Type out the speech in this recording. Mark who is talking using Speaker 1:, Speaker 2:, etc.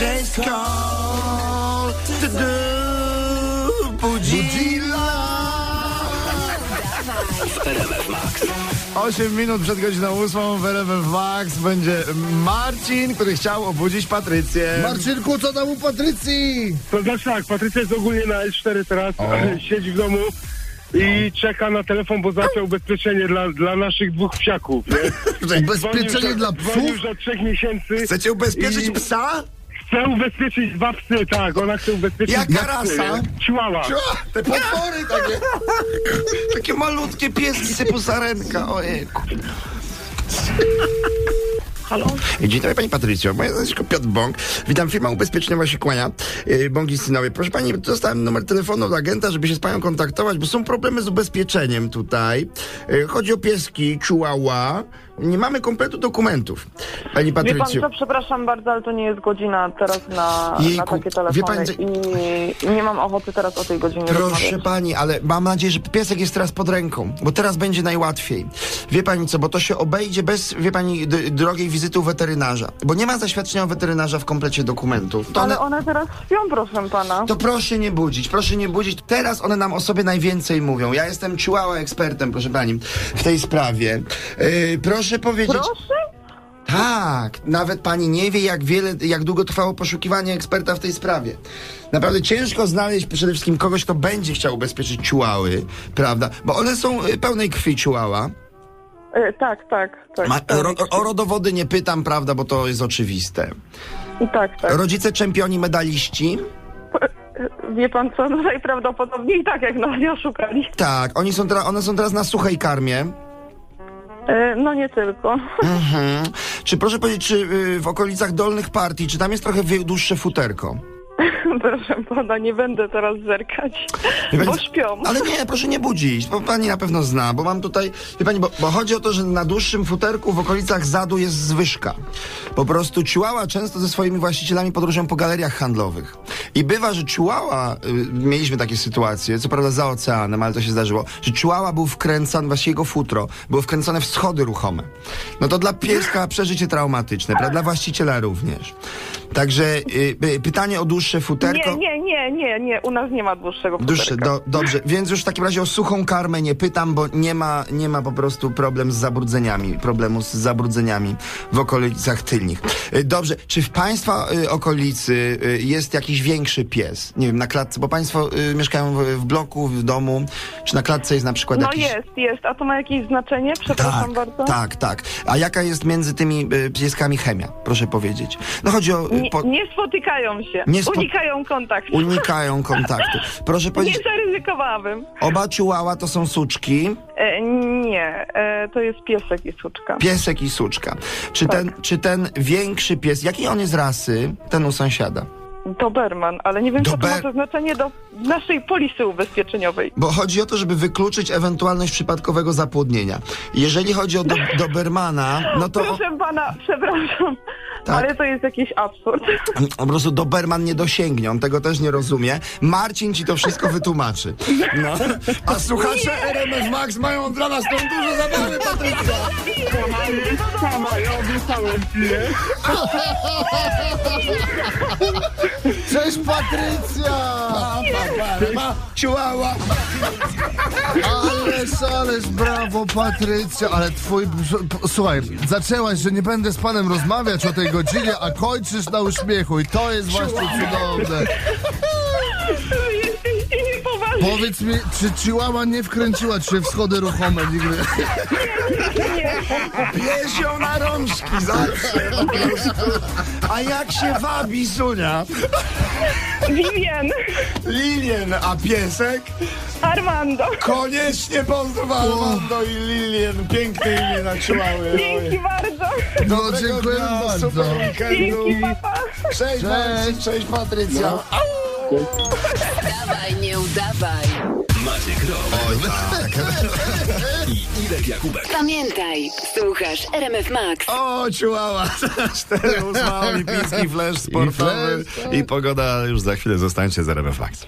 Speaker 1: James Cole to do Budzilla. 8 minut przed godziną 8 w RMF Max będzie Marcin, który chciał obudzić Patrycję.
Speaker 2: Marcinku, co tam u Patrycji?
Speaker 3: To znaczy tak, Patrycja jest ogólnie na S4 teraz, siedzi w domu i czeka na telefon, bo zaczął ubezpieczenie dla, dla naszych dwóch psiaków, nie?
Speaker 2: Ubezpieczenie
Speaker 3: Dzwonił za-
Speaker 2: dla
Speaker 3: Dzwonił
Speaker 2: psów?
Speaker 3: już od trzech miesięcy.
Speaker 1: Chcecie ubezpieczyć
Speaker 3: I-
Speaker 1: psa?
Speaker 3: Chce ubezpieczyć dwa psy, tak, ona chce ubezpieczyć
Speaker 1: Jaka
Speaker 3: dwa psy.
Speaker 1: rasa?
Speaker 3: Chihuahua.
Speaker 1: O, Te potwory takie. Tak. Takie malutkie pieski typu sarenka. Ojejku. Halo? Dzień dobry Pani Patrycjo, moje nazwisko Piotr Bąk. Witam, firma ubezpieczeniowa się kłania. Yy, Bąk i synowie. Proszę Pani, dostałem numer telefonu od agenta, żeby się z Panią kontaktować, bo są problemy z ubezpieczeniem tutaj. Yy, Chodzi o pieski, chihuahua. Nie mamy kompletu dokumentów. Pani
Speaker 4: Wie pan
Speaker 1: Patrycjo.
Speaker 4: co, przepraszam bardzo, ale to nie jest godzina teraz na, na
Speaker 1: Jejku,
Speaker 4: takie
Speaker 1: wie
Speaker 4: telefony
Speaker 1: pan, że-
Speaker 4: i nie mam ochoty teraz o tej godzinie
Speaker 1: Proszę
Speaker 4: rozmawiać.
Speaker 1: pani, ale mam nadzieję, że piesek jest teraz pod ręką, bo teraz będzie najłatwiej. Wie pani co, bo to się obejdzie bez, wie pani, d- drogiej wizyty u weterynarza. Bo nie ma zaświadczenia u weterynarza w komplecie dokumentów. To
Speaker 4: Ale
Speaker 1: one,
Speaker 4: one teraz śpią, proszę pana.
Speaker 1: to proszę nie budzić, proszę nie budzić. Teraz one nam o sobie najwięcej mówią. Ja jestem ciłała ekspertem, proszę pani, w tej sprawie. Yy, proszę powiedzieć...
Speaker 4: Proszę?
Speaker 1: Tak, nawet pani nie wie, jak wiele, jak długo trwało poszukiwanie eksperta w tej sprawie. Naprawdę ciężko znaleźć przede wszystkim kogoś, kto będzie chciał ubezpieczyć ciułały, prawda? Bo one są y, pełnej krwi ciułała.
Speaker 4: E, tak, tak, tak.
Speaker 1: Ma,
Speaker 4: tak.
Speaker 1: ro, o rodowody nie pytam, prawda, bo to jest oczywiste.
Speaker 4: I tak, tak.
Speaker 1: Rodzice czempioni, medaliści?
Speaker 4: Wie pan co, no najprawdopodobniej tak, jak nas nie oszukali.
Speaker 1: Tak, oni są teraz, one są teraz na suchej karmie.
Speaker 4: E, no nie tylko.
Speaker 1: Mhm. Czy proszę powiedzieć, czy y, w okolicach dolnych partii, czy tam jest trochę wie- dłuższe futerko? Hmm?
Speaker 4: proszę pana, nie będę teraz zerkać,
Speaker 1: Wie pani
Speaker 4: bo
Speaker 1: co-
Speaker 4: śpią.
Speaker 1: Ale nie, proszę nie budzić, bo pani na pewno zna, bo mam tutaj, wie pani, bo, bo chodzi o to, że na dłuższym futerku w okolicach zadu jest zwyżka. Po prostu ciłała często ze swoimi właścicielami podróżują po galeriach handlowych. I bywa, że ciłała, y, mieliśmy takie sytuacje, co prawda za oceanem, ale to się zdarzyło, że ciłała był wkręcany, właśnie jego futro, było wkręcone w schody ruchome. No to dla pieska przeżycie traumatyczne, prawda? Dla właściciela również. Także y, y, pytanie o dłuższe futerko.
Speaker 4: Nie, nie, nie, nie, nie, u nas nie ma dłuższego
Speaker 1: Duszy,
Speaker 4: futerka.
Speaker 1: do, dobrze, więc już w takim razie o suchą karmę nie pytam, bo nie ma, nie ma po prostu problem z zabrudzeniami, problemu z zabrudzeniami w okolicach tylnych. Y, Dobrze, czy w Państwa y, okolicy y, jest jakiś większy pies? Nie wiem, na klatce, bo Państwo y, mieszkają w, w bloku, w domu, czy na klatce jest na przykład
Speaker 4: No
Speaker 1: jakiś...
Speaker 4: jest, jest. A to ma jakieś znaczenie? Przepraszam
Speaker 1: Tak,
Speaker 4: bardzo.
Speaker 1: tak, tak. A jaka jest między tymi y, pieskami chemia, proszę powiedzieć? No chodzi o... y,
Speaker 4: Nie,
Speaker 1: po-
Speaker 4: nie spotykają się.
Speaker 1: Nie spo-
Speaker 4: Unikają kontaktu.
Speaker 1: Unikają kontaktu. Proszę
Speaker 4: Nie
Speaker 1: powiedzieć,
Speaker 4: zaryzykowałabym.
Speaker 1: oba ciułała to są suczki.
Speaker 4: E, nie, e, to jest piesek i suczka.
Speaker 1: Piesek i suczka. Czy, ten, czy ten większy pies, jakiej on jest rasy, ten u sąsiada?
Speaker 4: Doberman, ale nie wiem, co to
Speaker 1: Dober-
Speaker 4: ma to znaczenie do naszej polisy ubezpieczeniowej.
Speaker 1: Bo chodzi o to, żeby wykluczyć ewentualność przypadkowego zapłodnienia. Jeżeli chodzi o do, Dobermana, no to o,
Speaker 4: Proszę pana, przepraszam,
Speaker 1: Tak.
Speaker 4: ale to jest jakiś absurd.
Speaker 1: po prostu Doberman nie dosięgnie, on tego też nie rozumie. Marcin ci to wszystko wytłumaczy. No. A słuchacze RMF Max mają dla nas tą dużo zabawy, Patrycja.
Speaker 3: Sama, ja obiecałem ci, nie?
Speaker 2: Cześć Patrycja!
Speaker 1: Ciułała.
Speaker 2: Ależ, ależ, brawo Patrycja, ale twój... Słuchaj, zaczęłaś, że nie będę z panem rozmawiać o tej godzinie, a kończysz na uśmiechu i to jest właśnie cudowne.
Speaker 4: Wy Jesteście niepoważni.
Speaker 2: Powiedz mi, czy Chihuahua nie wkręciła cię w schody ruchome nigdy?
Speaker 1: Bierz ją na rączki zawsze. po prostu. A jak się wabi, Sunia?
Speaker 4: Vivien,
Speaker 1: Lilien, a piesek?
Speaker 4: Armando,
Speaker 1: Koniecznie pozdrow Armando i Lilien. Piękne imię na ciułały.
Speaker 4: dzięki bardzo.
Speaker 2: No, dziękuję bardzo.
Speaker 1: Super weekendu.
Speaker 4: Dzięki, papa.
Speaker 1: Cześć, Marcin, cześć Patrycja.
Speaker 5: Dawaj, nie udawaj.
Speaker 6: Maciek Rok i Irek Jakubek.
Speaker 5: Pamiętaj, słuchasz RMF Max.
Speaker 1: O, ciułała. 4 ósma olimpijski flash sportowy. I pogoda już za chwilę. Zostańcie z RMF Max.